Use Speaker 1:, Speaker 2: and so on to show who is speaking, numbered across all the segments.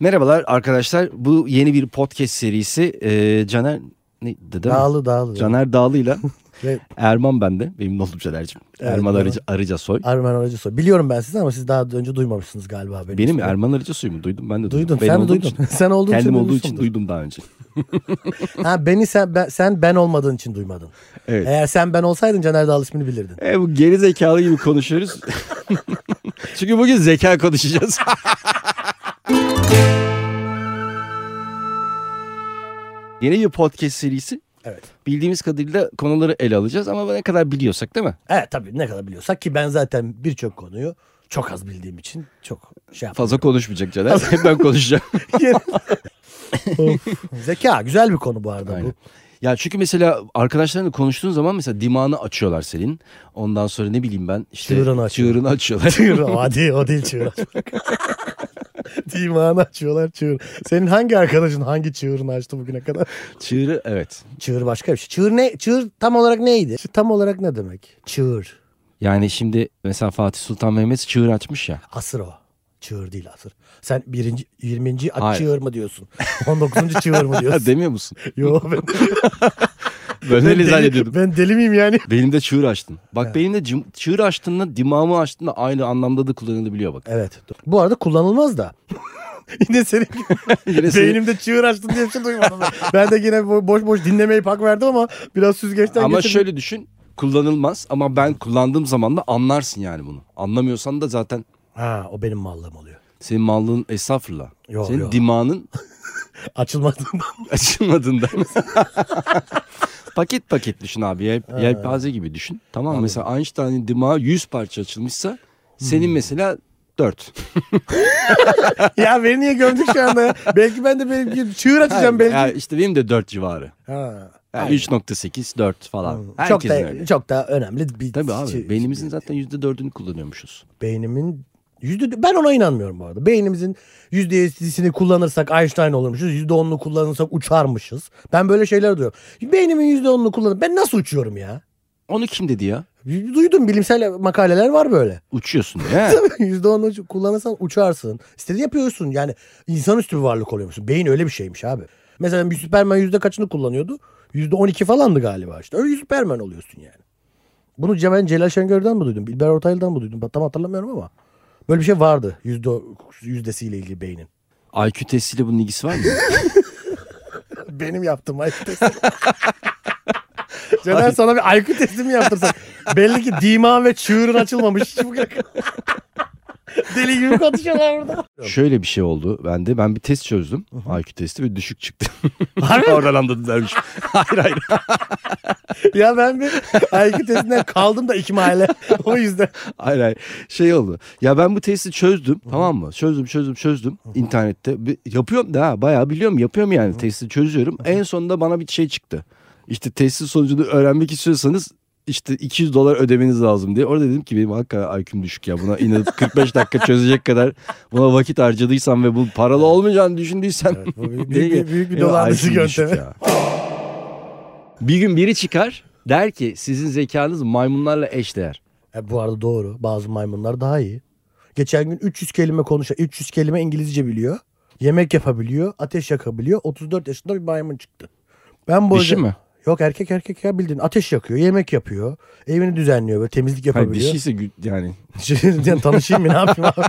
Speaker 1: Merhabalar arkadaşlar. Bu yeni bir podcast serisi. Ee, Caner ne dedi?
Speaker 2: Dağlı dağlı.
Speaker 1: Caner Dağlı'yla
Speaker 2: Ve
Speaker 1: Erman ben de. Benim oğlum Caner'cim.
Speaker 2: Evet,
Speaker 1: Erman
Speaker 2: merhaba.
Speaker 1: Arıca, Arıcasoy.
Speaker 2: Arman Aracısoy. Biliyorum ben sizi ama siz daha önce duymamışsınız galiba beni.
Speaker 1: Benim mi? Erman Arıcasoy'u mu? Duydum ben de duydum.
Speaker 2: Duydun.
Speaker 1: Ben
Speaker 2: sen de
Speaker 1: olduğum
Speaker 2: duydun.
Speaker 1: için-
Speaker 2: sen olduğun
Speaker 1: Kendim
Speaker 2: için
Speaker 1: olduğu için
Speaker 2: duymuşsundur.
Speaker 1: duydum daha önce.
Speaker 2: Ha beni sen ben, sen ben olmadığın için duymadın.
Speaker 1: Evet.
Speaker 2: Eğer sen ben olsaydın Caner Dağlı ismini bilirdin.
Speaker 1: E, bu geri zekalı gibi konuşuyoruz. Çünkü bugün zeka konuşacağız. Yeni bir podcast serisi.
Speaker 2: Evet.
Speaker 1: Bildiğimiz kadarıyla konuları ele alacağız ama ne kadar biliyorsak değil mi?
Speaker 2: Evet tabii ne kadar biliyorsak ki ben zaten birçok konuyu çok az bildiğim için çok şey yapmam.
Speaker 1: Fazla konuşmayacak Caner. Hep ben konuşacağım.
Speaker 2: Zeka güzel bir konu bu arada bu.
Speaker 1: Aynen. Ya çünkü mesela arkadaşlarınla konuştuğun zaman mesela dimağını açıyorlar senin. Ondan sonra ne bileyim ben işte
Speaker 2: Çığırını açıyor.
Speaker 1: çığırını açıyorlar.
Speaker 2: Çığır o hadi o değil çığır. Dimağını açıyorlar çığır. Senin hangi arkadaşın hangi çığırını açtı bugüne kadar?
Speaker 1: Çığırı evet.
Speaker 2: Çığır başka bir şey. Çığır ne? Çığır tam olarak neydi? Çığır tam olarak ne demek? Çığır.
Speaker 1: Yani şimdi mesela Fatih Sultan Mehmet çığır açmış ya.
Speaker 2: Asır o. Çığır değil asır. Sen birinci, 20. aç
Speaker 1: Hayır.
Speaker 2: çığır mı diyorsun? 19. çığır mı
Speaker 1: Ha,
Speaker 2: diyorsun?
Speaker 1: demiyor musun?
Speaker 2: Yo ben,
Speaker 1: Ben
Speaker 2: ben,
Speaker 1: öyle
Speaker 2: deli,
Speaker 1: zannediyordum.
Speaker 2: ben deli miyim yani?
Speaker 1: Benim de çığır açtın. Bak benim de cim- çığır açtığında dimağımı açtığında aynı anlamda da kullanılabiliyor bak.
Speaker 2: Evet. dur. Bu arada kullanılmaz da. yine senin gibi
Speaker 1: Yine seni-
Speaker 2: beynimde çığır açtın diye bir şey duymadım. ben. ben de yine bo- boş boş dinlemeyip hak verdim ama biraz süzgeçten
Speaker 1: ama
Speaker 2: geçirdim.
Speaker 1: şöyle düşün kullanılmaz ama ben kullandığım zaman da anlarsın yani bunu. Anlamıyorsan da zaten
Speaker 2: Ha, o benim mallığım oluyor.
Speaker 1: senin mallığın estağfurullah.
Speaker 2: Yo,
Speaker 1: senin
Speaker 2: yo.
Speaker 1: dimağının
Speaker 2: Açılmadığından.
Speaker 1: açılmadığından. paket paket düşün abi. Yelp, yelpaze gibi düşün. Tamam mı? Mesela Einstein'in dimağı 100 parça açılmışsa
Speaker 2: Hmm.
Speaker 1: senin mesela 4.
Speaker 2: ya beni niye gömdük şu anda ya? belki ben de belki çığır açacağım belki.
Speaker 1: Ya işte benim de 4 civarı.
Speaker 2: Ha.
Speaker 1: Yani 3.8 4 falan.
Speaker 2: çok
Speaker 1: Herkesin
Speaker 2: da
Speaker 1: öyle.
Speaker 2: çok da önemli bir
Speaker 1: Tabii abi
Speaker 2: şey-
Speaker 1: beynimizin zaten %4'ünü kullanıyormuşuz.
Speaker 2: beynimin yüzde ben ona inanmıyorum bu arada. Beynimizin yüzde yetmişini kullanırsak Einstein olurmuşuz. Yüzde onunu kullanırsak uçarmışız. Ben böyle şeyler duyuyorum. Beynimin yüzde onunu kullanıp ben nasıl uçuyorum ya?
Speaker 1: Onu kim dedi ya?
Speaker 2: Duydum bilimsel makaleler var böyle.
Speaker 1: Uçuyorsun ya.
Speaker 2: Yüzde onu uç- kullanırsan uçarsın. İstediğini yapıyorsun. Yani insanüstü bir varlık oluyormuşsun. Beyin öyle bir şeymiş abi. Mesela bir Superman yüzde kaçını kullanıyordu? Yüzde on iki falandı galiba işte. Öyle Superman oluyorsun yani. Bunu Ce- ben Celal Şengör'den mi duydum? Bilber Ortaylı'dan mı duydum? Tam hatırlamıyorum ama. Böyle bir şey vardı yüzde, yüzdesiyle ilgili beynin.
Speaker 1: IQ testiyle bunun ilgisi var mı?
Speaker 2: Benim yaptığım IQ testi. Celal sana bir IQ testi mi yaptırsak? Belli ki dimağın ve çığırın açılmamış. Hiç bu kadar- Deli gibi konuşuyorlar burada.
Speaker 1: Şöyle bir şey oldu bende. Ben bir test çözdüm. IQ testi ve düşük çıktı.
Speaker 2: Harbi
Speaker 1: Oradan anladım dermiş. hayır hayır.
Speaker 2: Ya ben bir IQ testinden kaldım da iki mahalle. O yüzden.
Speaker 1: Hayır hayır. Şey oldu. Ya ben bu testi çözdüm tamam mı? Çözdüm çözdüm çözdüm internette. Bir- yapıyorum da ha bayağı biliyorum yapıyorum yani testi çözüyorum. En sonunda bana bir şey çıktı. İşte testin sonucunu öğrenmek istiyorsanız işte 200 dolar ödemeniz lazım diye. Orada dedim ki benim hakikaten IQ'm düşük ya. Buna inanıp 45 dakika çözecek kadar buna vakit harcadıysam ve bu paralı olmayacağını düşündüysem.
Speaker 2: bu büyük-
Speaker 1: Değil
Speaker 2: büyük-
Speaker 1: mi?
Speaker 2: büyük bir
Speaker 1: Benim
Speaker 2: dolandırıcı
Speaker 1: IQ'm düşük
Speaker 2: yöntemi.
Speaker 1: ya. Bir gün biri çıkar der ki sizin zekanız maymunlarla eşdeğer.
Speaker 2: E, bu arada doğru. Bazı maymunlar daha iyi. Geçen gün 300 kelime konuşuyor. 300 kelime İngilizce biliyor. Yemek yapabiliyor. Ateş yakabiliyor. 34 yaşında bir maymun çıktı. Ben bu
Speaker 1: Dişi mi?
Speaker 2: Yok erkek erkek ya bildiğin. Ateş yakıyor. Yemek yapıyor. Evini düzenliyor. Böyle temizlik yapabiliyor.
Speaker 1: Hayır dişiyse gü- yani
Speaker 2: Yani tanışayım mı ne yapayım abi?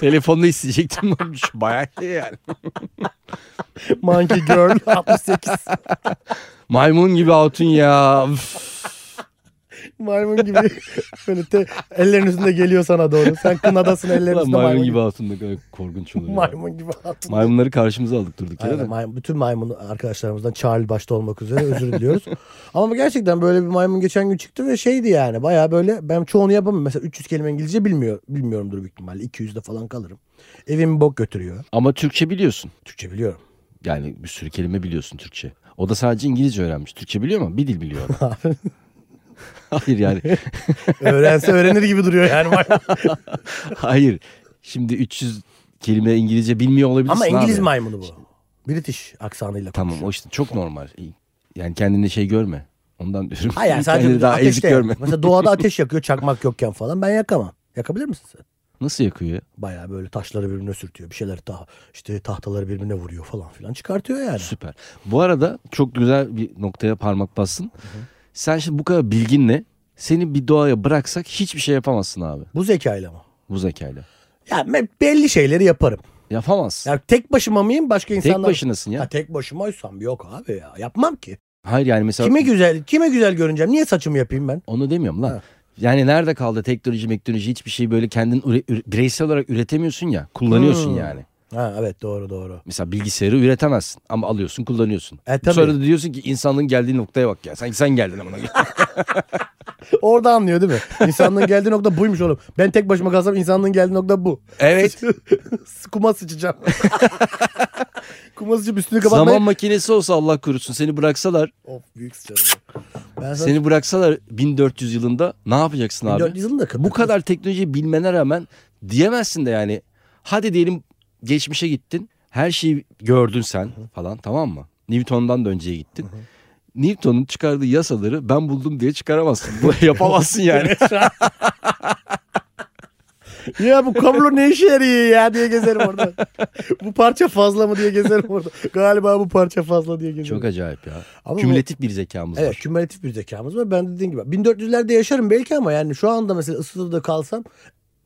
Speaker 1: Telefonunu isteyecektim olmuş. Bayağı iyi yani.
Speaker 2: Monkey girl 68.
Speaker 1: Maymun gibi hatun ya. Üf.
Speaker 2: Maymun gibi böyle te, ellerin üstünde geliyor sana doğru. Sen kınadasın ellerin
Speaker 1: Ulan
Speaker 2: üstünde
Speaker 1: maymun
Speaker 2: maymun
Speaker 1: gibi hatun ne kadar korkunç olur. ya.
Speaker 2: Maymun gibi hatun.
Speaker 1: Maymunları karşımıza aldık durduk yere
Speaker 2: Aynen,
Speaker 1: de.
Speaker 2: maymun- bütün maymun arkadaşlarımızdan Charlie başta olmak üzere özür diliyoruz. Ama gerçekten böyle bir maymun geçen gün çıktı ve şeydi yani baya böyle ben çoğunu yapamam. Mesela 300 kelime İngilizce bilmiyor, bilmiyorumdur büyük ihtimalle. 200'de falan kalırım. Evimi bok götürüyor.
Speaker 1: Ama Türkçe biliyorsun.
Speaker 2: Türkçe biliyorum.
Speaker 1: Yani bir sürü kelime biliyorsun Türkçe. O da sadece İngilizce öğrenmiş. Türkçe biliyor mu? Bir dil biliyor. adam. Hayır yani.
Speaker 2: Öğrense öğrenir gibi duruyor yani. maymun.
Speaker 1: Hayır. Şimdi 300 kelime İngilizce bilmiyor olabilirsin
Speaker 2: Ama İngiliz
Speaker 1: abi.
Speaker 2: maymunu bu. British aksanıyla konuşuyor.
Speaker 1: Tamam o işte çok normal. Yani kendinde şey görme. Ondan diyorum.
Speaker 2: Hayır yani
Speaker 1: Kendini
Speaker 2: sadece
Speaker 1: daha
Speaker 2: ateşte
Speaker 1: ezik görme.
Speaker 2: Mesela doğada ateş yakıyor çakmak yokken falan ben yakamam. Yakabilir misin sen?
Speaker 1: Nasıl yakıyor ya?
Speaker 2: Bayağı böyle taşları birbirine sürtüyor. Bir şeyler ta işte tahtaları birbirine vuruyor falan filan çıkartıyor yani.
Speaker 1: Süper. Bu arada çok güzel bir noktaya parmak bassın. Sen şimdi bu kadar bilginle seni bir doğaya bıraksak hiçbir şey yapamazsın abi
Speaker 2: Bu zekayla mı?
Speaker 1: bu zekayla.
Speaker 2: Ya ben belli şeyleri yaparım.
Speaker 1: Yapamazsın.
Speaker 2: Ya tek başıma mıyım başka
Speaker 1: Tek
Speaker 2: insanlar?
Speaker 1: başınasın ya.
Speaker 2: Ha, tek başımaysam yok abi ya. Yapmam ki.
Speaker 1: Hayır yani mesela
Speaker 2: Kime güzel kime güzel görüneceğim? Niye saçımı yapayım ben?
Speaker 1: onu demiyorum lan.
Speaker 2: Ha.
Speaker 1: Yani nerede kaldı teknoloji, meknoloji hiçbir şey böyle kendin üre- üre- bireysel olarak üretemiyorsun ya. Kullanıyorsun
Speaker 2: Hmm.
Speaker 1: yani.
Speaker 2: Ha evet doğru doğru.
Speaker 1: Mesela bilgisayarı üretemezsin ama alıyorsun kullanıyorsun.
Speaker 2: E, tabii.
Speaker 1: Sonra da diyorsun ki insanlığın geldiği noktaya bak ya. Sanki sen geldin amına. koyayım.
Speaker 2: Orada anlıyor değil mi? İnsanlığın geldiği nokta buymuş oğlum. Ben tek başıma kalsam insanlığın geldiği nokta bu.
Speaker 1: evet.
Speaker 2: Kuma sıçacağım. Kuma sıçıp üstünü kapatmayı.
Speaker 1: Zaman makinesi olsa Allah korusun seni bıraksalar,
Speaker 2: Of büyük sıçarım. ya. Ben
Speaker 1: seni bıraksalar 1400 yılında ne yapacaksın
Speaker 2: sana
Speaker 1: abi?
Speaker 2: 1400 yılında
Speaker 1: Bu kadar teknolojiyi bilmene rağmen diyemezsin de yani. Hadi diyelim geçmişe gittin. Her şeyi gördün sen falan tamam mı? Newton'dan da önceye gittin. Newton'un çıkardığı yasaları ben buldum diye çıkaramazsın. Bunu yapamazsın yani.
Speaker 2: ya bu kablo ne işe yarıyor ya diye gezerim orada. bu parça fazla mı diye gezerim orada. Galiba bu parça fazla diye gezerim.
Speaker 1: Çok acayip ya.
Speaker 2: Ama bu-
Speaker 1: Kümülatif bir zekamız
Speaker 2: Evet
Speaker 1: var.
Speaker 2: kümülatif bir zekamız var. Ben dediğim gibi 1400'lerde yaşarım belki ama yani şu anda mesela Isıtlı'da kalsam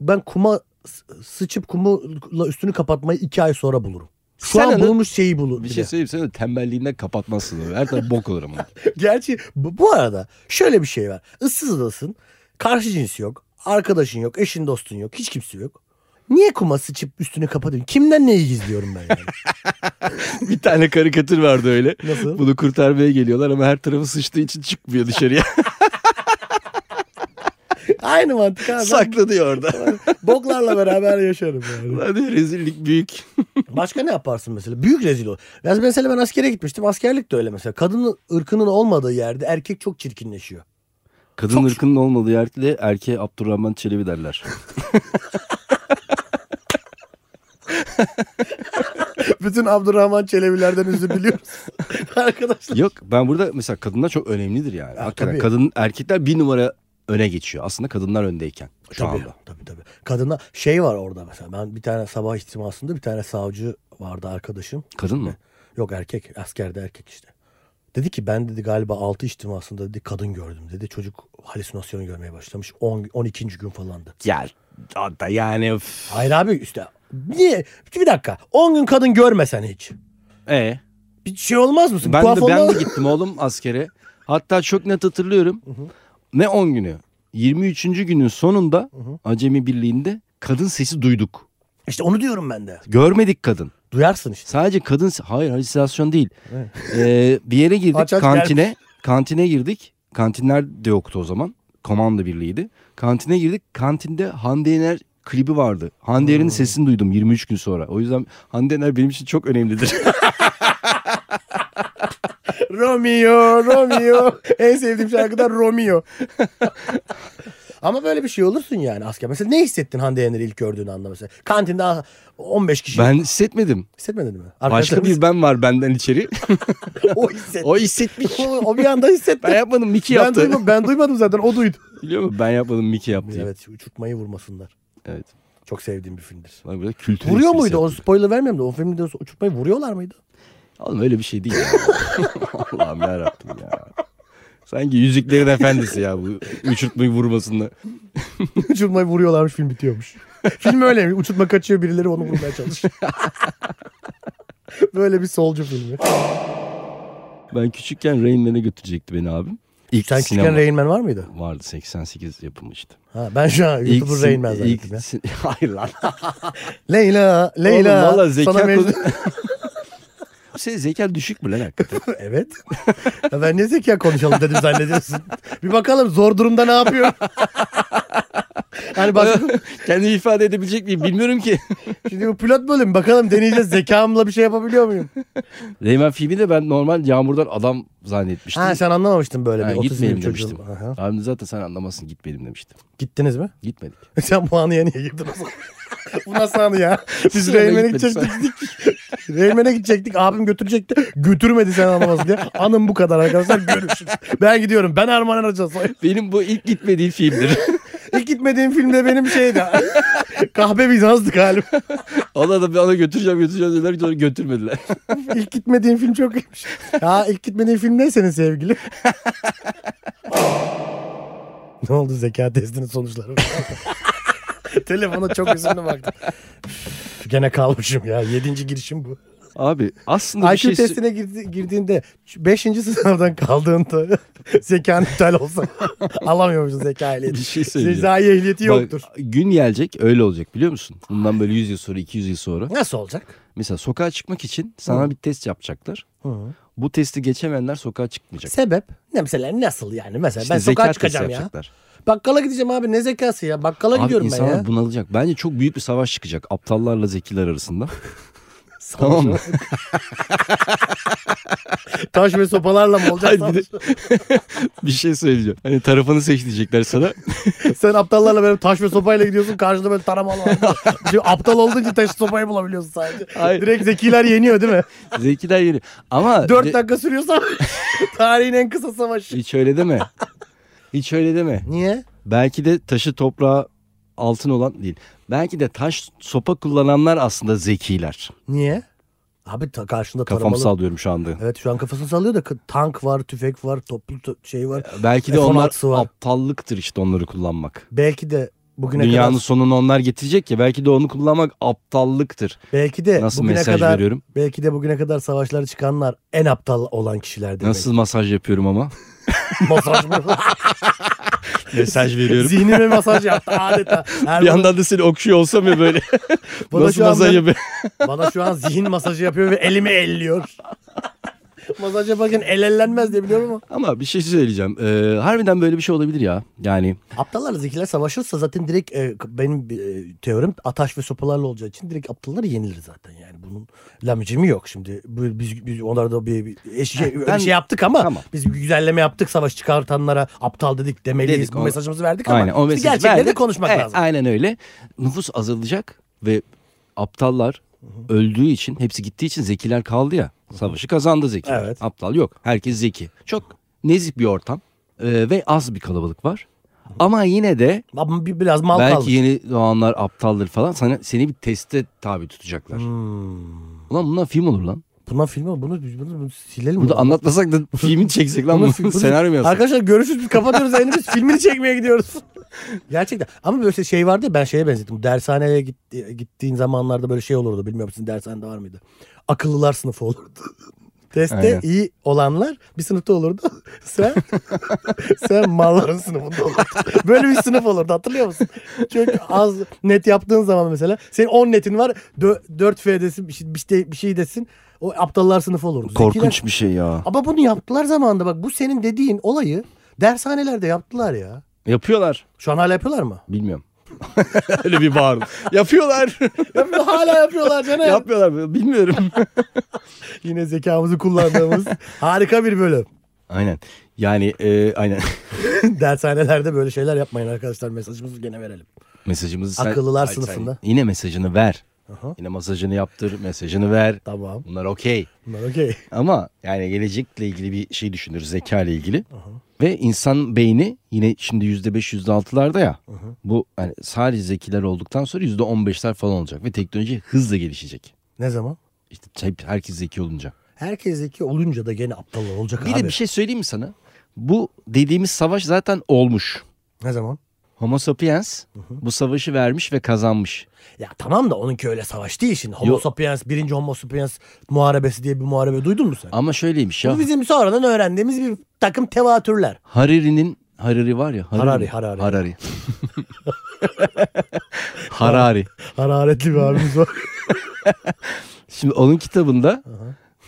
Speaker 2: ben kuma s- sıçıp kumla üstünü kapatmayı iki ay sonra bulurum. Şu
Speaker 1: Sen
Speaker 2: an
Speaker 1: onu-
Speaker 2: bulmuş şeyi bulur.
Speaker 1: Bir şey söyleyeyim sana tembelliğinden kapatmazsın. onu. Her taraf bok olur ama.
Speaker 2: Gerçi bu, bu arada şöyle bir şey var. Issız adasın. Karşı cinsi yok. Arkadaşın yok. Eşin dostun yok. Hiç kimse yok. Niye kuma sıçıp üstünü kapatıyorsun? Kimden neyi gizliyorum ben yani?
Speaker 1: bir tane karikatür vardı öyle.
Speaker 2: Nasıl?
Speaker 1: Bunu kurtarmaya geliyorlar ama her tarafı sıçtığı için çıkmıyor dışarıya.
Speaker 2: Aynı mantık abi. Ben
Speaker 1: Saklanıyor orada.
Speaker 2: Boklarla beraber yaşarım yani.
Speaker 1: Hadi rezillik büyük.
Speaker 2: Başka ne yaparsın mesela? Büyük rezil ol. Ben mesela ben askere gitmiştim. Askerlik de öyle mesela. Kadının ırkının olmadığı yerde erkek çok çirkinleşiyor.
Speaker 1: Kadın
Speaker 2: Çok-
Speaker 1: ırkının olmadığı yerde erkeğe Abdurrahman Çelebi derler.
Speaker 2: Bütün Abdurrahman Çelebilerden üzü biliyoruz. Arkadaşlar.
Speaker 1: Yok ben burada mesela kadınlar çok önemlidir yani.
Speaker 2: Ya,
Speaker 1: Hakikaten
Speaker 2: tabii.
Speaker 1: kadın erkekler bir numara öne geçiyor. Aslında kadınlar öndeyken şu
Speaker 2: Tabii,
Speaker 1: anda.
Speaker 2: tabii tabii. Kadına şey var orada mesela. Ben bir tane sabah ihtimasında bir tane savcı vardı arkadaşım.
Speaker 1: Kadın mı?
Speaker 2: Yok erkek. Askerde erkek işte. Dedi ki ben dedi galiba 6 ihtimasında dedi kadın gördüm dedi. Çocuk halüsinasyon görmeye başlamış. 10 12. gün falandı.
Speaker 1: Ya da yani. öf.
Speaker 2: Hayır abi işte niye? Bir dakika. 10 gün kadın görmesen hiç.
Speaker 1: E,
Speaker 2: Bir şey olmaz mısın?
Speaker 1: ben
Speaker 2: Tuhaf
Speaker 1: de ben
Speaker 2: olmaz-
Speaker 1: de gittim oğlum askere. Hatta çok net hatırlıyorum. Ne 10 günü? 23. günün sonunda Acemi Birliği'nde kadın sesi duyduk.
Speaker 2: İşte onu diyorum ben de.
Speaker 1: Görmedik kadın.
Speaker 2: Duyarsın işte.
Speaker 1: Sadece kadın hayır halüsinasyon değil.
Speaker 2: Evet.
Speaker 1: Ee, bir yere girdik
Speaker 2: Aç aç
Speaker 1: kantine. Kantine girdik. Kantinler de yoktu o zaman. Komando birliğiydi. Kantine girdik. Kantinde Hande Yener klibi vardı. Hande
Speaker 2: Hmm.
Speaker 1: Yener'in sesini duydum 23 gün sonra. O yüzden Hande Yener benim için çok önemlidir.
Speaker 2: Romeo, Romeo. en sevdiğim şarkıda Romeo. Ama böyle bir şey olursun yani asker. Mesela ne hissettin Hande Yener'i ilk gördüğün anda mesela? Kantinde 15 kişi.
Speaker 1: ben hissetmedim.
Speaker 2: Hissetmedin mi?
Speaker 1: Başka bir ben var benden içeri.
Speaker 2: o hissetti.
Speaker 1: o hissetmiş.
Speaker 2: o, o bir anda hissetti.
Speaker 1: Ben yapmadım Miki
Speaker 2: Ben,
Speaker 1: yaptı.
Speaker 2: duymadım, ben duymadım zaten o duydu.
Speaker 1: Biliyor musun? Ben yapmadım Miki yaptı. Evet.
Speaker 2: Evet uçurtmayı vurmasınlar.
Speaker 1: evet.
Speaker 2: Çok sevdiğim bir filmdir.
Speaker 1: Bana böyle kültür
Speaker 2: Vuruyor
Speaker 1: esprisi
Speaker 2: muydu? O
Speaker 1: yaptım.
Speaker 2: spoiler vermeyeyim de o filmde o uçurtmayı vuruyorlar mıydı?
Speaker 1: Oğlum öyle bir şey değil. ya. Allah'ım yarabbim ya. Sanki Yüzüklerin Efendisi ya bu uçurtmayı vurmasında.
Speaker 2: Uçurtmayı vuruyorlarmış film bitiyormuş. film öyle uçurtma kaçıyor birileri onu vurmaya çalışıyor. Böyle bir solcu filmi.
Speaker 1: Ben küçükken Rain Man'e götürecekti beni abim. İlk
Speaker 2: Sen
Speaker 1: sinema
Speaker 2: küçükken Rain Man var mıydı?
Speaker 1: vardı 88 yapımı işte.
Speaker 2: Ha, ben şu an
Speaker 1: İlk
Speaker 2: YouTuber
Speaker 1: sin-
Speaker 2: Rain Man zannettim
Speaker 1: ilk
Speaker 2: ya.
Speaker 1: sin- Hayır lan.
Speaker 2: Leyla, Leyla.
Speaker 1: Oğlum valla zeka
Speaker 2: sana mecbur-
Speaker 1: konusu- Senin zekan düşük mü lan hakikaten?
Speaker 2: evet. Ya ben ne zeka konuşalım dedim zannediyorsun. bir bakalım zor durumda ne yapıyor? hani bak
Speaker 1: Kendimi ifade edebilecek miyim bilmiyorum ki.
Speaker 2: şimdi bu pilot bölüm bakalım deneyeceğiz zekamla bir şey yapabiliyor muyum?
Speaker 1: Rayman filmi de ben normal yağmurdan adam zannetmiştim.
Speaker 2: Ha sen anlamamıştın böyle
Speaker 1: Ha,
Speaker 2: bir 30
Speaker 1: gitmeyelim
Speaker 2: milyon
Speaker 1: demiştim.
Speaker 2: çocuğun. Aha.
Speaker 1: Abim de zaten sen anlamazsın gitmeyelim demiştim.
Speaker 2: Gittiniz mi?
Speaker 1: Gitmedik.
Speaker 2: Sen bu anıya niye girdin o zaman? bu nasıl anı ya? Biz
Speaker 1: Sonra
Speaker 2: Reymen'e
Speaker 1: gitmedik
Speaker 2: gidecektik. Reymen'e gidecektik. Abim götürecekti. Götürmedi sen anlamasın diye. Anım bu kadar arkadaşlar. Görüşürüz. Ben gidiyorum. Ben Erman Aracaz.
Speaker 1: Benim bu ilk gitmediğim filmdir.
Speaker 2: İlk gitmediğim filmde benim şeydi. Kahve Bizans'tı galiba.
Speaker 1: Ona da bir ona götüreceğim götüreceğim dediler sonra götürmediler.
Speaker 2: İlk gitmediğim film çok iyiymiş. Ya ilk gitmediğin film ne senin sevgili? ne oldu zeka testinin sonuçları? Telefona çok üzüldüm baktım. Üf, Gene kalmışım ya. Yedinci girişim bu.
Speaker 1: Abi aslında bir
Speaker 2: IQ
Speaker 1: şey
Speaker 2: testine girdi- girdiğinde 5. sınavdan kaldığında zekan iptal olsa alamıyormuşsun zeka
Speaker 1: bir
Speaker 2: ehliyeti.
Speaker 1: şey söyleyeceğim.
Speaker 2: Cezai ehliyeti
Speaker 1: Bak,
Speaker 2: yoktur.
Speaker 1: gün gelecek öyle olacak biliyor musun? Bundan böyle 100 yıl sonra 200 yıl sonra.
Speaker 2: Nasıl olacak?
Speaker 1: Mesela sokağa çıkmak için sana bir test yapacaklar. Bu testi geçemeyenler sokağa çıkmayacak.
Speaker 2: Sebep? Ne mesela nasıl yani? Mesela
Speaker 1: İşte
Speaker 2: ben
Speaker 1: zeka
Speaker 2: sokağa
Speaker 1: testi
Speaker 2: çıkacağım ya.
Speaker 1: yapacaklar.
Speaker 2: Bakkala gideceğim abi ne zekası ya? Bakkala
Speaker 1: Abi
Speaker 2: gidiyorum ben
Speaker 1: insanlar
Speaker 2: ya.
Speaker 1: bunalacak. Bence çok büyük bir savaş çıkacak aptallarla zekiler arasında.
Speaker 2: Savaş
Speaker 1: tamam mı?
Speaker 2: Taş ve sopalarla mı olacak?
Speaker 1: Hayır, bir de- bir şey söyleyeceğim. Hani tarafını seç diyecekler sana.
Speaker 2: Sen aptallarla böyle taş ve sopayla gidiyorsun karşında böyle taramalı var. Şimdi aptal olduğun için taşı sopayı bulabiliyorsun sadece.
Speaker 1: Hayır.
Speaker 2: Direkt zekiler yeniyor değil mi?
Speaker 1: Zekiler yeri. Ama
Speaker 2: 4
Speaker 1: de-
Speaker 2: dakika sürüyorsa tarihin en kısa savaşı.
Speaker 1: hiç öyle deme. Hiç öyle deme.
Speaker 2: Niye?
Speaker 1: Belki de taşı toprağa altın olan değil. Belki de taş sopa kullananlar aslında zekiler.
Speaker 2: Niye? Abi ta- karşında
Speaker 1: Kafam
Speaker 2: taramalı.
Speaker 1: sallıyorum şu anda.
Speaker 2: Evet şu an kafasını sallıyor da k- tank var, tüfek var, toplu t- şey var.
Speaker 1: Belki de
Speaker 2: F-16'sı
Speaker 1: onlar
Speaker 2: var.
Speaker 1: aptallıktır işte onları kullanmak.
Speaker 2: Belki de bugüne
Speaker 1: Dünyanın
Speaker 2: kadar
Speaker 1: sonunu onlar getirecek ya belki de onu kullanmak aptallıktır.
Speaker 2: belki de
Speaker 1: Nasıl
Speaker 2: bugüne
Speaker 1: mesaj
Speaker 2: kadar
Speaker 1: veriyorum?
Speaker 2: belki de bugüne kadar savaşlara çıkanlar en aptal olan kişilerdir.
Speaker 1: Nasıl masaj yapıyorum ama?
Speaker 2: belki. Masaj mı?
Speaker 1: Mesaj veriyorum.
Speaker 2: Zihnime masaj yaptı adeta. Her
Speaker 1: Bir yandan da seni okşuyor olsam ya böyle.
Speaker 2: Bana
Speaker 1: Nasıl
Speaker 2: şu an
Speaker 1: masaj
Speaker 2: ben-
Speaker 1: yapıyor?
Speaker 2: Bana şu an zihin masajı yapıyor ve elimi elliyor. masaj yaparken el ellenmez diye biliyorum ama.
Speaker 1: Ama bir şey söyleyeceğim. Ee, harbiden böyle bir şey olabilir ya. Yani
Speaker 2: Aptallarla zekiler savaşırsa zaten direkt e, benim e, teorim ataş ve sopalarla olacağı için direkt aptalları yenilir zaten yani. Bunun lamicimi yok şimdi. Bu, biz, biz onlarda bir, bir, e, şey, öyle
Speaker 1: ben-
Speaker 2: şey yaptık ama
Speaker 1: Tamam.
Speaker 2: biz bir güzelleme yaptık savaş çıkartanlara aptal dedik demeliyiz.
Speaker 1: Dedik,
Speaker 2: Bu
Speaker 1: o-
Speaker 2: mesajımızı verdik
Speaker 1: aynen
Speaker 2: ama
Speaker 1: o
Speaker 2: işte
Speaker 1: mesajı
Speaker 2: gerçekleri de
Speaker 1: verdik.
Speaker 2: konuşmak
Speaker 1: Evet,
Speaker 2: lazım.
Speaker 1: Aynen öyle. Nüfus azalacak ve aptallar öldüğü için hepsi gittiği için zekiler kaldı ya. Savaşı kazandı zekiler.
Speaker 2: Evet.
Speaker 1: Aptal yok. Herkes zeki. Çok nezih bir ortam ee, ve az bir kalabalık var. Ama yine de
Speaker 2: Ama bir, biraz mal
Speaker 1: belki
Speaker 2: kaldı.
Speaker 1: yeni doğanlar aptaldır falan sana seni bir teste tabi tutacaklar.
Speaker 2: Hmm.
Speaker 1: Ulan bundan film olur lan.
Speaker 2: Bundan film olur. Bunu, bunu, bunu silelim.
Speaker 1: Bunu
Speaker 2: bunu.
Speaker 1: anlatmasak da filmi çeksek lan
Speaker 2: Bunu
Speaker 1: bunu.
Speaker 2: film- bunu-
Speaker 1: Senaryo mu yazsak?
Speaker 2: Arkadaşlar görüşürüz biz kapatıyoruz yayını biz filmini çekmeye gidiyoruz. Gerçekten ama böyle şey vardı ya ben şeye benzettim. Dershaneye gitti- gittiğin zamanlarda böyle şey olurdu. Bilmiyorum sizin dershanede var mıydı? Akıllılar sınıfı olurdu. Testte
Speaker 1: Aynen.
Speaker 2: iyi olanlar bir sınıfta olurdu. Sen sen malların sınıfında olurdun. Böyle bir sınıf olurdu hatırlıyor musun? Çünkü az net yaptığın zaman mesela senin 10 netin var 4 F desin bir şey, bir şey, bir şey desin o aptallar sınıfı olurdu. Zekiler-
Speaker 1: Korkunç bir şey ya.
Speaker 2: ama bunu yaptılar zamanında bak bu senin dediğin olayı dershanelerde yaptılar ya.
Speaker 1: Yapıyorlar.
Speaker 2: Şu an hala yapıyorlar mı?
Speaker 1: Bilmiyorum. Öyle bir bağırdım. Yapıyorlar.
Speaker 2: hala yapıyorlar canım.
Speaker 1: Yapmıyorlar. mı? Bilmiyorum.
Speaker 2: Yine zekamızı kullandığımız harika bir bölüm.
Speaker 1: aynen. Yani e, aynen.
Speaker 2: Dershanelerde böyle şeyler yapmayın arkadaşlar mesajımızı gene verelim.
Speaker 1: Mesajımızı sen...
Speaker 2: Akıllılar
Speaker 1: Ay,
Speaker 2: sınıfında.
Speaker 1: Sen yine mesajını ver.
Speaker 2: Aha.
Speaker 1: Yine masajını yaptır. Mesajını ver.
Speaker 2: Tamam.
Speaker 1: Bunlar okey.
Speaker 2: Bunlar okey.
Speaker 1: Ama yani gelecekle ilgili bir şey düşünür. Zeka ile ilgili. Ve insan beyni yine şimdi yüzde beş yüzde altılarda ya. Bu hani sadece zekiler olduktan sonra yüzde on beşler falan olacak. Ve teknoloji hızla gelişecek.
Speaker 2: Ne zaman?
Speaker 1: İşte hep- herkes zeki olunca.
Speaker 2: Herkes zeki olunca da gene aptallar olacak
Speaker 1: Bir
Speaker 2: abi.
Speaker 1: de bir şey söyleyeyim mi sana? Bu dediğimiz savaş zaten olmuş.
Speaker 2: Ne zaman?
Speaker 1: Homo sapiens bu savaşı vermiş ve kazanmış.
Speaker 2: Ya tamam da onunki öyle savaş değil şimdi. Homo
Speaker 1: Yok.
Speaker 2: sapiens, birinci homo sapiens muharebesi diye bir muharebe duydun mu sen?
Speaker 1: Ama şöyleymiş ya.
Speaker 2: Bu bizim sonradan öğrendiğimiz bir takım tevatürler.
Speaker 1: Harari'nin Harari var ya.
Speaker 2: Harari,
Speaker 1: mi?
Speaker 2: Harari.
Speaker 1: Harari. Harari.
Speaker 2: Hararetli bir abimiz var.
Speaker 1: Şimdi onun kitabında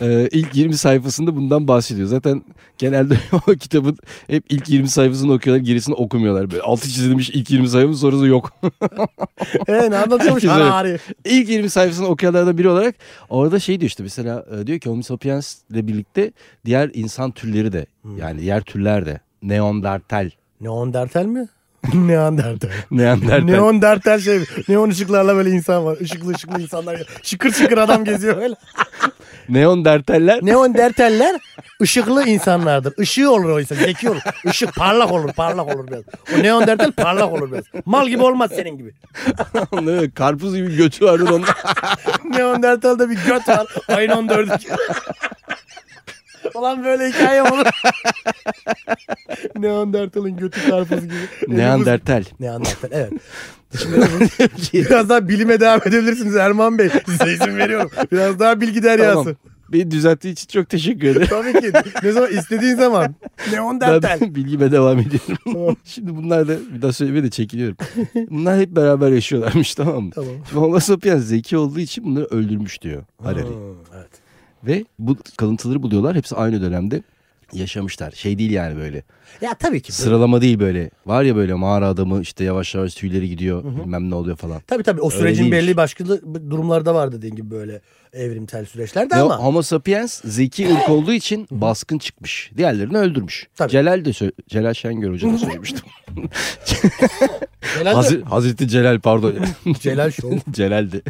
Speaker 1: e, ilk 20 sayfasında bundan bahsediyor. Zaten genelde o kitabın hep ilk 20 sayfasını okuyorlar gerisini okumuyorlar. Böyle altı çizilmiş ilk 20 sayfanın sonrası yok.
Speaker 2: He Ee, ne anlatıyormuş
Speaker 1: Herkes öyle.
Speaker 2: Harari.
Speaker 1: İlk 20 sayfasını okuyanlardan biri olarak orada şey diyor işte mesela e, diyor ki Homo sapiens ile birlikte diğer insan türleri de yani diğer türler de Neandertal.
Speaker 2: Neandertal mi? Neandertal.
Speaker 1: Neandertal.
Speaker 2: Neandertal şey. Neon ışıklarla böyle insan var. Işıklı ışıklı insanlar. Şıkır şıkır adam geziyor öyle.
Speaker 1: Neon derteller.
Speaker 2: Neandertaller ışıklı insanlardır. Işığı olur oysa zeki olur. Işık parlak olur parlak olur biraz. O Neandertal parlak olur biraz. Mal gibi olmaz senin gibi.
Speaker 1: Onların Karpuz gibi götü vardı onun.
Speaker 2: Neandertal'da bir göt var. Ayın 14'ü. Ulan böyle hikaye olur. Neandertal'ın götü karpuzu gibi.
Speaker 1: Neandertal.
Speaker 2: Neandertal evet. Şimdi biraz daha bilime devam edebilirsiniz Erman Bey. Size izin veriyorum. Biraz daha bilgi deryası.
Speaker 1: Tamam. Beni düzelttiği için çok teşekkür ederim.
Speaker 2: Tabii ki. Ne zaman istediğin zaman. Neandertal.
Speaker 1: Ben bilgime devam ediyorum. Şimdi bunlar da bir daha söylemeye de çekiniyorum. Bunlar hep beraber yaşıyorlarmış tamam mı?
Speaker 2: Tamam.
Speaker 1: Şimdi Homo sapiens zeki olduğu için bunları öldürmüş diyor Harari.
Speaker 2: Hmm, evet.
Speaker 1: Ve bu kalıntıları buluyorlar. Hepsi aynı dönemde yaşamışlar. Şey değil yani böyle.
Speaker 2: Ya tabii ki.
Speaker 1: Sıralama değil böyle. Var ya böyle mağara adamı işte yavaş yavaş tüyleri gidiyor. Bilmem ne oluyor falan.
Speaker 2: Tabii tabii o sürecin
Speaker 1: değilmiş.
Speaker 2: belli başka durumlarda var dediğin gibi böyle evrimsel süreçlerde
Speaker 1: Ve
Speaker 2: ama.
Speaker 1: Homo sapiens zeki ırk olduğu için baskın çıkmış. Diğerlerini öldürmüş.
Speaker 2: Tabii.
Speaker 1: Celal de sö- Celal Şengör Hoca da söylemişti.
Speaker 2: Celal,
Speaker 1: Hazır- Hazreti Celal pardon.
Speaker 2: Celal Şov.
Speaker 1: Celal'di.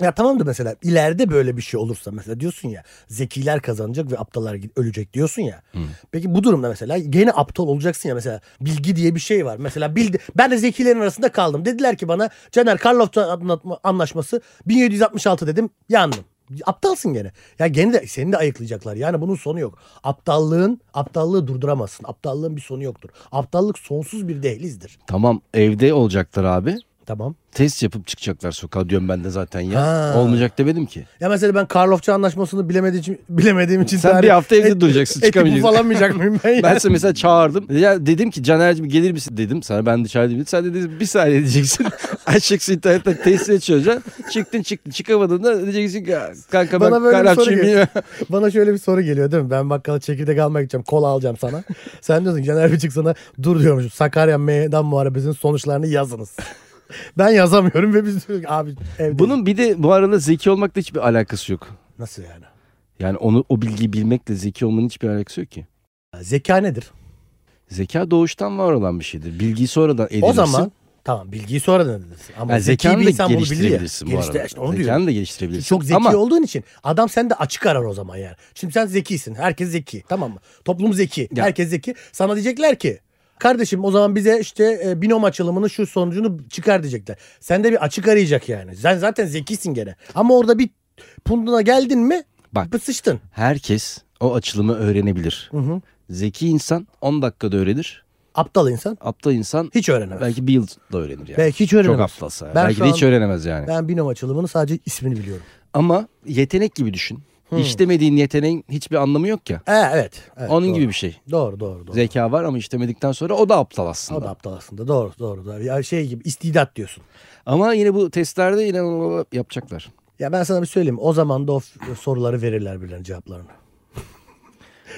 Speaker 2: Ya tamam da mesela ileride böyle bir şey olursa mesela diyorsun ya zekiler kazanacak ve aptallar gi- ölecek diyorsun ya. Peki bu durumda mesela gene aptal olacaksın ya mesela bilgi diye bir şey var. Mesela bildi ben de zekilerin arasında kaldım. Dediler ki bana Caner Karlofça anlatma- anlaşması 1766 dedim yandım. Aptalsın gene. Ya gene de seni de ayıklayacaklar. Yani bunun sonu yok. Aptallığın aptallığı durduramazsın. Aptallığın bir sonu yoktur. Aptallık sonsuz bir dehlizdir.
Speaker 1: Tamam evde olacaklar abi.
Speaker 2: Tamam.
Speaker 1: Test yapıp çıkacaklar sokağa diyorum ben de zaten ya.
Speaker 2: Ha.
Speaker 1: Olmayacak demedim ki.
Speaker 2: Ya mesela ben Karlofça anlaşmasını bilemediğim için, bilemediğim için
Speaker 1: Sen bir
Speaker 2: tarih-
Speaker 1: hafta evde
Speaker 2: et-
Speaker 1: duracaksın
Speaker 2: Eti
Speaker 1: çıkamayacaksın.
Speaker 2: bufalamayacak mıyım ben ya?
Speaker 1: Ben seni mesela çağırdım. Ya dedim ki Caner'cim gelir misin dedim. Sana ben dışarıdayım. dedim. Sen de dedin bir saniye diyeceksin. Açacaksın internetten testine çözeceksin. Çıktın çıktın. Çıkamadın da diyeceksin ki "Ya kanka
Speaker 2: Bana
Speaker 1: ben
Speaker 2: böyle bir soru
Speaker 1: karapçıyım.
Speaker 2: geliyor.
Speaker 1: bilmiyorum."
Speaker 2: Bana şöyle bir soru geliyor değil mi? Ben bakkala çekirdek almak gideceğim. Kola alacağım sana. Sen diyorsun ki Caner Biçik sana dur diyormuş. Sakarya Meydan Muharebesi'nin sonuçlarını yazınız. ben yazamıyorum ve biz diyoruz ki abi evde.
Speaker 1: Bunun bir de bu arada zeki olmakla hiçbir alakası yok.
Speaker 2: Nasıl yani?
Speaker 1: Yani onu o bilgiyi bilmekle zeki olmanın hiçbir alakası yok ki.
Speaker 2: Zeka nedir?
Speaker 1: Zeka doğuştan var olan bir şeydir. Bilgiyi sonradan edinirsin.
Speaker 2: O zaman tamam bilgiyi sonradan edilirsin. Ama
Speaker 1: yani
Speaker 2: zeki
Speaker 1: zekanı
Speaker 2: bir
Speaker 1: da
Speaker 2: insan bunu bilir ya.
Speaker 1: geliştirebilirsin bu
Speaker 2: Geliştir-
Speaker 1: arada.
Speaker 2: işte onu diyorum.
Speaker 1: zekanı da geliştirebilirsin.
Speaker 2: Çok zeki
Speaker 1: Ama
Speaker 2: olduğun için adam sende açık arar o zaman yani. Şimdi sen zekisin. Herkes zeki. Tamam mı? Toplum zeki.
Speaker 1: Ya.
Speaker 2: Herkes zeki. Sana diyecekler ki kardeşim o zaman bize işte e, binom açılımının şu sonucunu çıkar diyecekler. Sende bir açık arayacak yani. Sen zaten zekisin gene. Ama orada bir punduna geldin mi
Speaker 1: Bak.
Speaker 2: Bak. sıçtın.
Speaker 1: herkes o açılımı öğrenebilir. Zeki insan 10 dakikada öğrenir.
Speaker 2: Aptal insan
Speaker 1: Aptal insan
Speaker 2: hiç öğrenemez.
Speaker 1: belki bir yılda öğrenir yani.
Speaker 2: Belki hiç öğrenemez.
Speaker 1: Çok aptalsa. yani.
Speaker 2: Ben
Speaker 1: belki
Speaker 2: şu
Speaker 1: de hiç
Speaker 2: an-
Speaker 1: öğrenemez yani.
Speaker 2: Ben binom açılımını sadece ismini biliyorum.
Speaker 1: Ama yetenek gibi düşün. İşlemediğin yeteneğin hiçbir anlamı yok ya.
Speaker 2: E, evet, Hmm. evet.
Speaker 1: Onun
Speaker 2: doğru.
Speaker 1: gibi bir şey.
Speaker 2: Doğru doğru doğru.
Speaker 1: Zeka var ama işlemedikten sonra o da aptal aslında.
Speaker 2: o da aptal aslında. Doğru doğru. doğru. Ya şey gibi istidat diyorsun.
Speaker 1: Ama yine bu testlerde yine onu yapacaklar.
Speaker 2: Ya ben sana bir söyleyeyim. O zaman da o f- soruları verirler birilerine cevaplarını.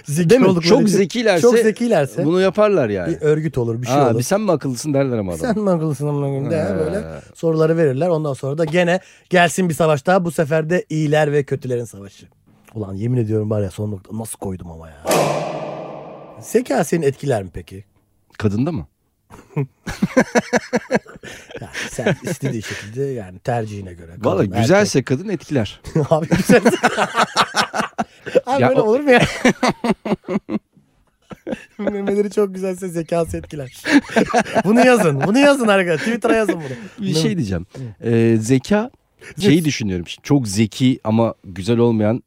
Speaker 2: zeki
Speaker 1: Değil mi?
Speaker 2: oldukları
Speaker 1: Çok
Speaker 2: için-
Speaker 1: zekilerse
Speaker 2: Çok zekilerse
Speaker 1: Bunu yaparlar yani.
Speaker 2: bir örgüt olur, bir şey
Speaker 1: Aa,
Speaker 2: olur.
Speaker 1: bir sen mi akıllısın derler ama adam.
Speaker 2: Sen mi akıllısın amına koyayım de
Speaker 1: Ha.
Speaker 2: böyle soruları verirler. Ondan sonra da gene gelsin bir savaş daha. Bu sefer de iyiler ve kötülerin savaşı. Ulan yemin ediyorum var ya son nokta nasıl koydum ama ya. Zeka seni etkiler mi peki?
Speaker 1: Kadında mı?
Speaker 2: Yani sen istediği şekilde yani tercihine göre.
Speaker 1: Valla
Speaker 2: Kadın,
Speaker 1: güzelse kadın etkiler.
Speaker 2: erkek. Abi güzel. Abi
Speaker 1: Ya
Speaker 2: böyle
Speaker 1: o-
Speaker 2: olur mu ya? Memeleri çok güzelse zekası etkiler. bunu yazın. Bunu yazın arkadaşlar. Twitter'a yazın bunu.
Speaker 1: Bir şey diyeceğim. Ee, zeka şeyi düşünüyorum. Şimdi çok zeki ama güzel olmayan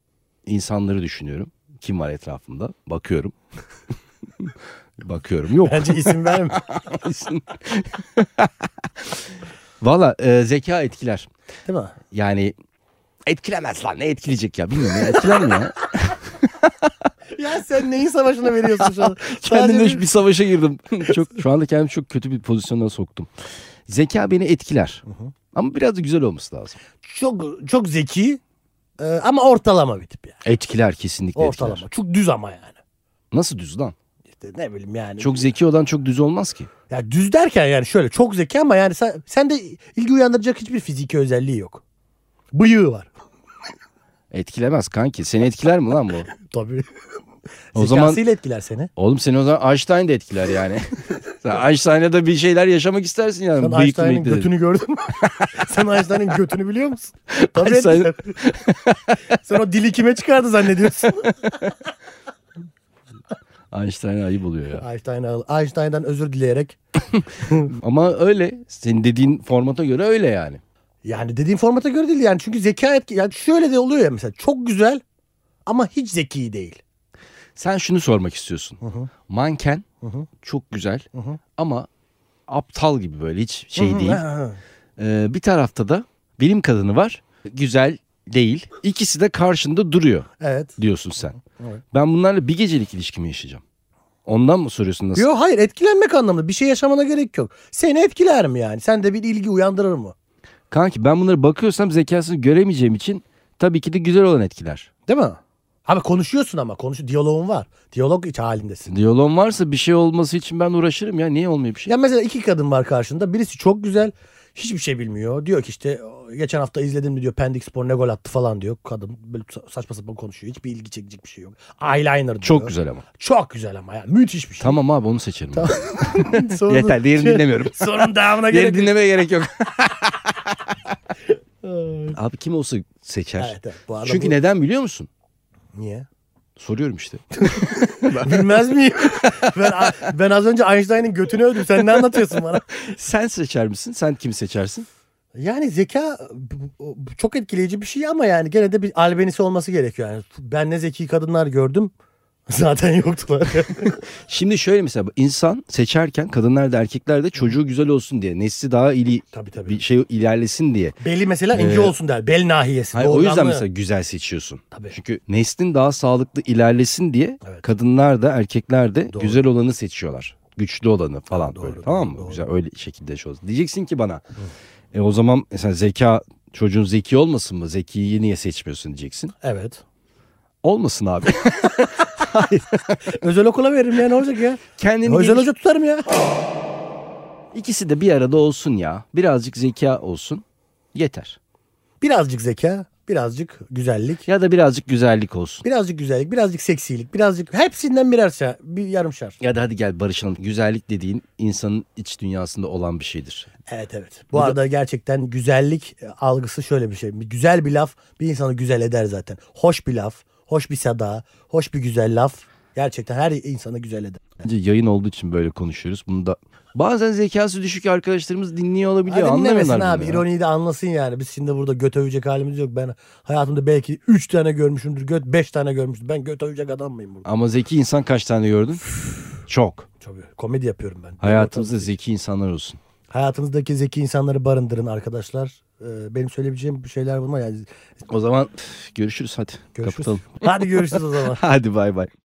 Speaker 1: insanları düşünüyorum. Kim var etrafımda? Bakıyorum. Bakıyorum. Yok.
Speaker 2: Bence isim verme.
Speaker 1: Valla e, zeka etkiler.
Speaker 2: Değil mi?
Speaker 1: Yani etkilemez lan. Ne etkileyecek ya? Bilmiyorum ya. Etkiler mi ya?
Speaker 2: Ya sen neyin savaşına veriyorsun şu an?
Speaker 1: Kendimle
Speaker 2: Sadece
Speaker 1: bir savaşa girdim. çok Şu anda kendimi çok kötü bir pozisyona soktum. Zeka beni etkiler. Ama biraz da güzel olması lazım.
Speaker 2: çok çok zeki e, ama ortalama bir tip yani.
Speaker 1: Etkiler kesinlikle
Speaker 2: Ortalama.
Speaker 1: etkiler.
Speaker 2: Çok düz ama yani.
Speaker 1: Nasıl düz lan?
Speaker 2: İşte ne bileyim yani.
Speaker 1: Çok zeki olan çok düz olmaz ki.
Speaker 2: ya düz derken yani şöyle çok zeki ama yani sen, sen de ilgi uyandıracak hiçbir fiziki özelliği yok. Bıyığı var.
Speaker 1: Etkilemez kanki. Seni etkiler mi lan bu?
Speaker 2: Tabii.
Speaker 1: O
Speaker 2: O
Speaker 1: zaman-
Speaker 2: Zekasıyla etkiler seni.
Speaker 1: Oğlum seni o zaman Einstein de etkiler yani. Sen Einstein'a da bir şeyler yaşamak istersin yani.
Speaker 2: Sen
Speaker 1: bıyık
Speaker 2: Einstein'ın
Speaker 1: mıyık dedi.
Speaker 2: götünü gördün mü? Sen Einstein'ın götünü biliyor musun? Tabii
Speaker 1: Einstein-
Speaker 2: etkiler. Sen o dili kime çıkardı zannediyorsun?
Speaker 1: Einstein'a ayıp oluyor ya.
Speaker 2: Einstein'a- Einstein'dan özür dileyerek.
Speaker 1: Ama öyle. Senin dediğin formata göre öyle yani.
Speaker 2: Yani dediğim formata göre değil yani. Çünkü zeka etki... Yani şöyle de oluyor ya mesela. Çok güzel ama hiç zeki değil.
Speaker 1: Sen şunu sormak istiyorsun. Manken
Speaker 2: hı.
Speaker 1: çok güzel
Speaker 2: hı.
Speaker 1: ama aptal gibi böyle hiç şey değil.
Speaker 2: Ha, ha.
Speaker 1: Ee, bir tarafta da bilim kadını var. Güzel değil. İkisi de karşında duruyor
Speaker 2: Evet.
Speaker 1: diyorsun sen.
Speaker 2: Evet.
Speaker 1: Ben bunlarla bir gecelik ilişkimi yaşayacağım. Ondan mı soruyorsun nasıl?
Speaker 2: Yok hayır etkilenmek anlamında. Bir şey yaşamana gerek yok. Seni etkiler mi yani? Sen de bir ilgi uyandırır mı?
Speaker 1: Kanki ben bunlara bakıyorsam zekasını göremeyeceğim için tabii ki de güzel olan etkiler.
Speaker 2: Değil mi? Abi konuşuyorsun ama konuş diyaloğun var. Diyalog iç halindesin.
Speaker 1: Diyalon varsa bir şey olması için ben uğraşırım ya. Niye olmuyor bir şey?
Speaker 2: Ya mesela iki kadın var karşında. Birisi çok güzel. Hiçbir şey bilmiyor. Diyor ki işte geçen hafta izledim mi diyor Pendik Spor ne gol attı falan diyor. Kadın böyle sa- saçma sapan konuşuyor. Hiçbir ilgi çekecek bir şey yok. Eyeliner diyor.
Speaker 1: Çok güzel ama.
Speaker 2: Çok güzel ama ya. Müthiş bir şey.
Speaker 1: Tamam abi onu seçerim. ben.
Speaker 2: Sorunun-
Speaker 1: Yeter diğerini
Speaker 2: Şey-
Speaker 1: dinlemiyorum.
Speaker 2: Sorunun devamına
Speaker 1: Diğerini
Speaker 2: gerek yok.
Speaker 1: dinlemeye gerek yok. Abi kim olsa seçer.
Speaker 2: Evet, evet. Bu arada
Speaker 1: Çünkü
Speaker 2: bu-
Speaker 1: neden biliyor musun?
Speaker 2: Niye?
Speaker 1: Soruyorum işte.
Speaker 2: Bilmez miyim? ben, ben az önce Einstein'ın götünü övdüm. Sen ne anlatıyorsun bana?
Speaker 1: Sen seçer misin? Sen kimi seçersin?
Speaker 2: Yani zeka bu- bu- bu çok etkileyici bir şey ama yani gene de bir albenisi olması gerekiyor. Yani ben ne zeki kadınlar gördüm. Zaten yoktular.
Speaker 1: Şimdi şöyle mesela insan seçerken kadınlar da erkekler de çocuğu güzel olsun diye nesli daha iyi
Speaker 2: Tabii, tabii.
Speaker 1: bir şey ilerlesin diye.
Speaker 2: Beli mesela ince
Speaker 1: Ee,
Speaker 2: olsun der. Bel nahiyesi.
Speaker 1: Hayır, o yüzden
Speaker 2: doğurganlığı.
Speaker 1: mesela güzel seçiyorsun.
Speaker 2: Tabii.
Speaker 1: Çünkü neslin daha sağlıklı ilerlesin diye
Speaker 2: Evet.
Speaker 1: kadınlar da erkekler de
Speaker 2: Doğru.
Speaker 1: güzel olanı seçiyorlar. Güçlü olanı falan
Speaker 2: Doğru,
Speaker 1: böyle
Speaker 2: doğru,
Speaker 1: tamam mı?
Speaker 2: doğru.
Speaker 1: Güzel öyle şekilde şey olsun. Diyeceksin ki bana e, o zaman mesela zeka çocuğun zeki olmasın mı? Zekiyi niye seçmiyorsun diyeceksin.
Speaker 2: Evet.
Speaker 1: Olmasın abi.
Speaker 2: Özel okula veririm ya ne olacak ya?
Speaker 1: Kendini
Speaker 2: Özel
Speaker 1: geliş-
Speaker 2: hoca tutarım ya.
Speaker 1: İkisi de bir arada olsun ya. Birazcık zeka olsun. Yeter.
Speaker 2: Birazcık zeka, birazcık güzellik.
Speaker 1: Ya da birazcık güzellik olsun.
Speaker 2: Birazcık güzellik, birazcık seksilik, birazcık hepsinden birer şer, bir yarım şer.
Speaker 1: Ya da hadi gel barışalım. Güzellik dediğin insanın iç dünyasında olan bir şeydir.
Speaker 2: Evet evet. Bu arada gerçekten güzellik e, algısı şöyle bir şey. Güzel bir laf bir insanı güzel eder zaten. Hoş bir laf, hoş bir sada, hoş bir güzel laf gerçekten her insanı güzel eder.
Speaker 1: Bence yayın olduğu için böyle konuşuyoruz. Bunu da bazen zekası düşük arkadaşlarımız dinliyor olabiliyor.
Speaker 2: Hadi dinlemesin
Speaker 1: Anlamıyorlar
Speaker 2: abi
Speaker 1: bunu ya.
Speaker 2: ironiyi de anlasın yani. Biz şimdi burada göt övecek halimiz yok. Ben hayatımda belki 3 tane görmüşümdür. Göt 5 tane görmüştüm. Ben göt övecek adam mıyım burada?
Speaker 1: Ama zeki insan kaç tane gördün? Çok.
Speaker 2: Tabii komedi yapıyorum ben.
Speaker 1: Hayatımızda zeki insanlar olsun.
Speaker 2: Hayatınızdaki zeki insanları barındırın arkadaşlar. Ee, benim söyleyebileceğim bir şeyler bunlar yani.
Speaker 1: O zaman üf, görüşürüz hadi.
Speaker 2: Görüşürüz.
Speaker 1: Kapatalım.
Speaker 2: Hadi görüşürüz o zaman.
Speaker 1: Hadi bay bay.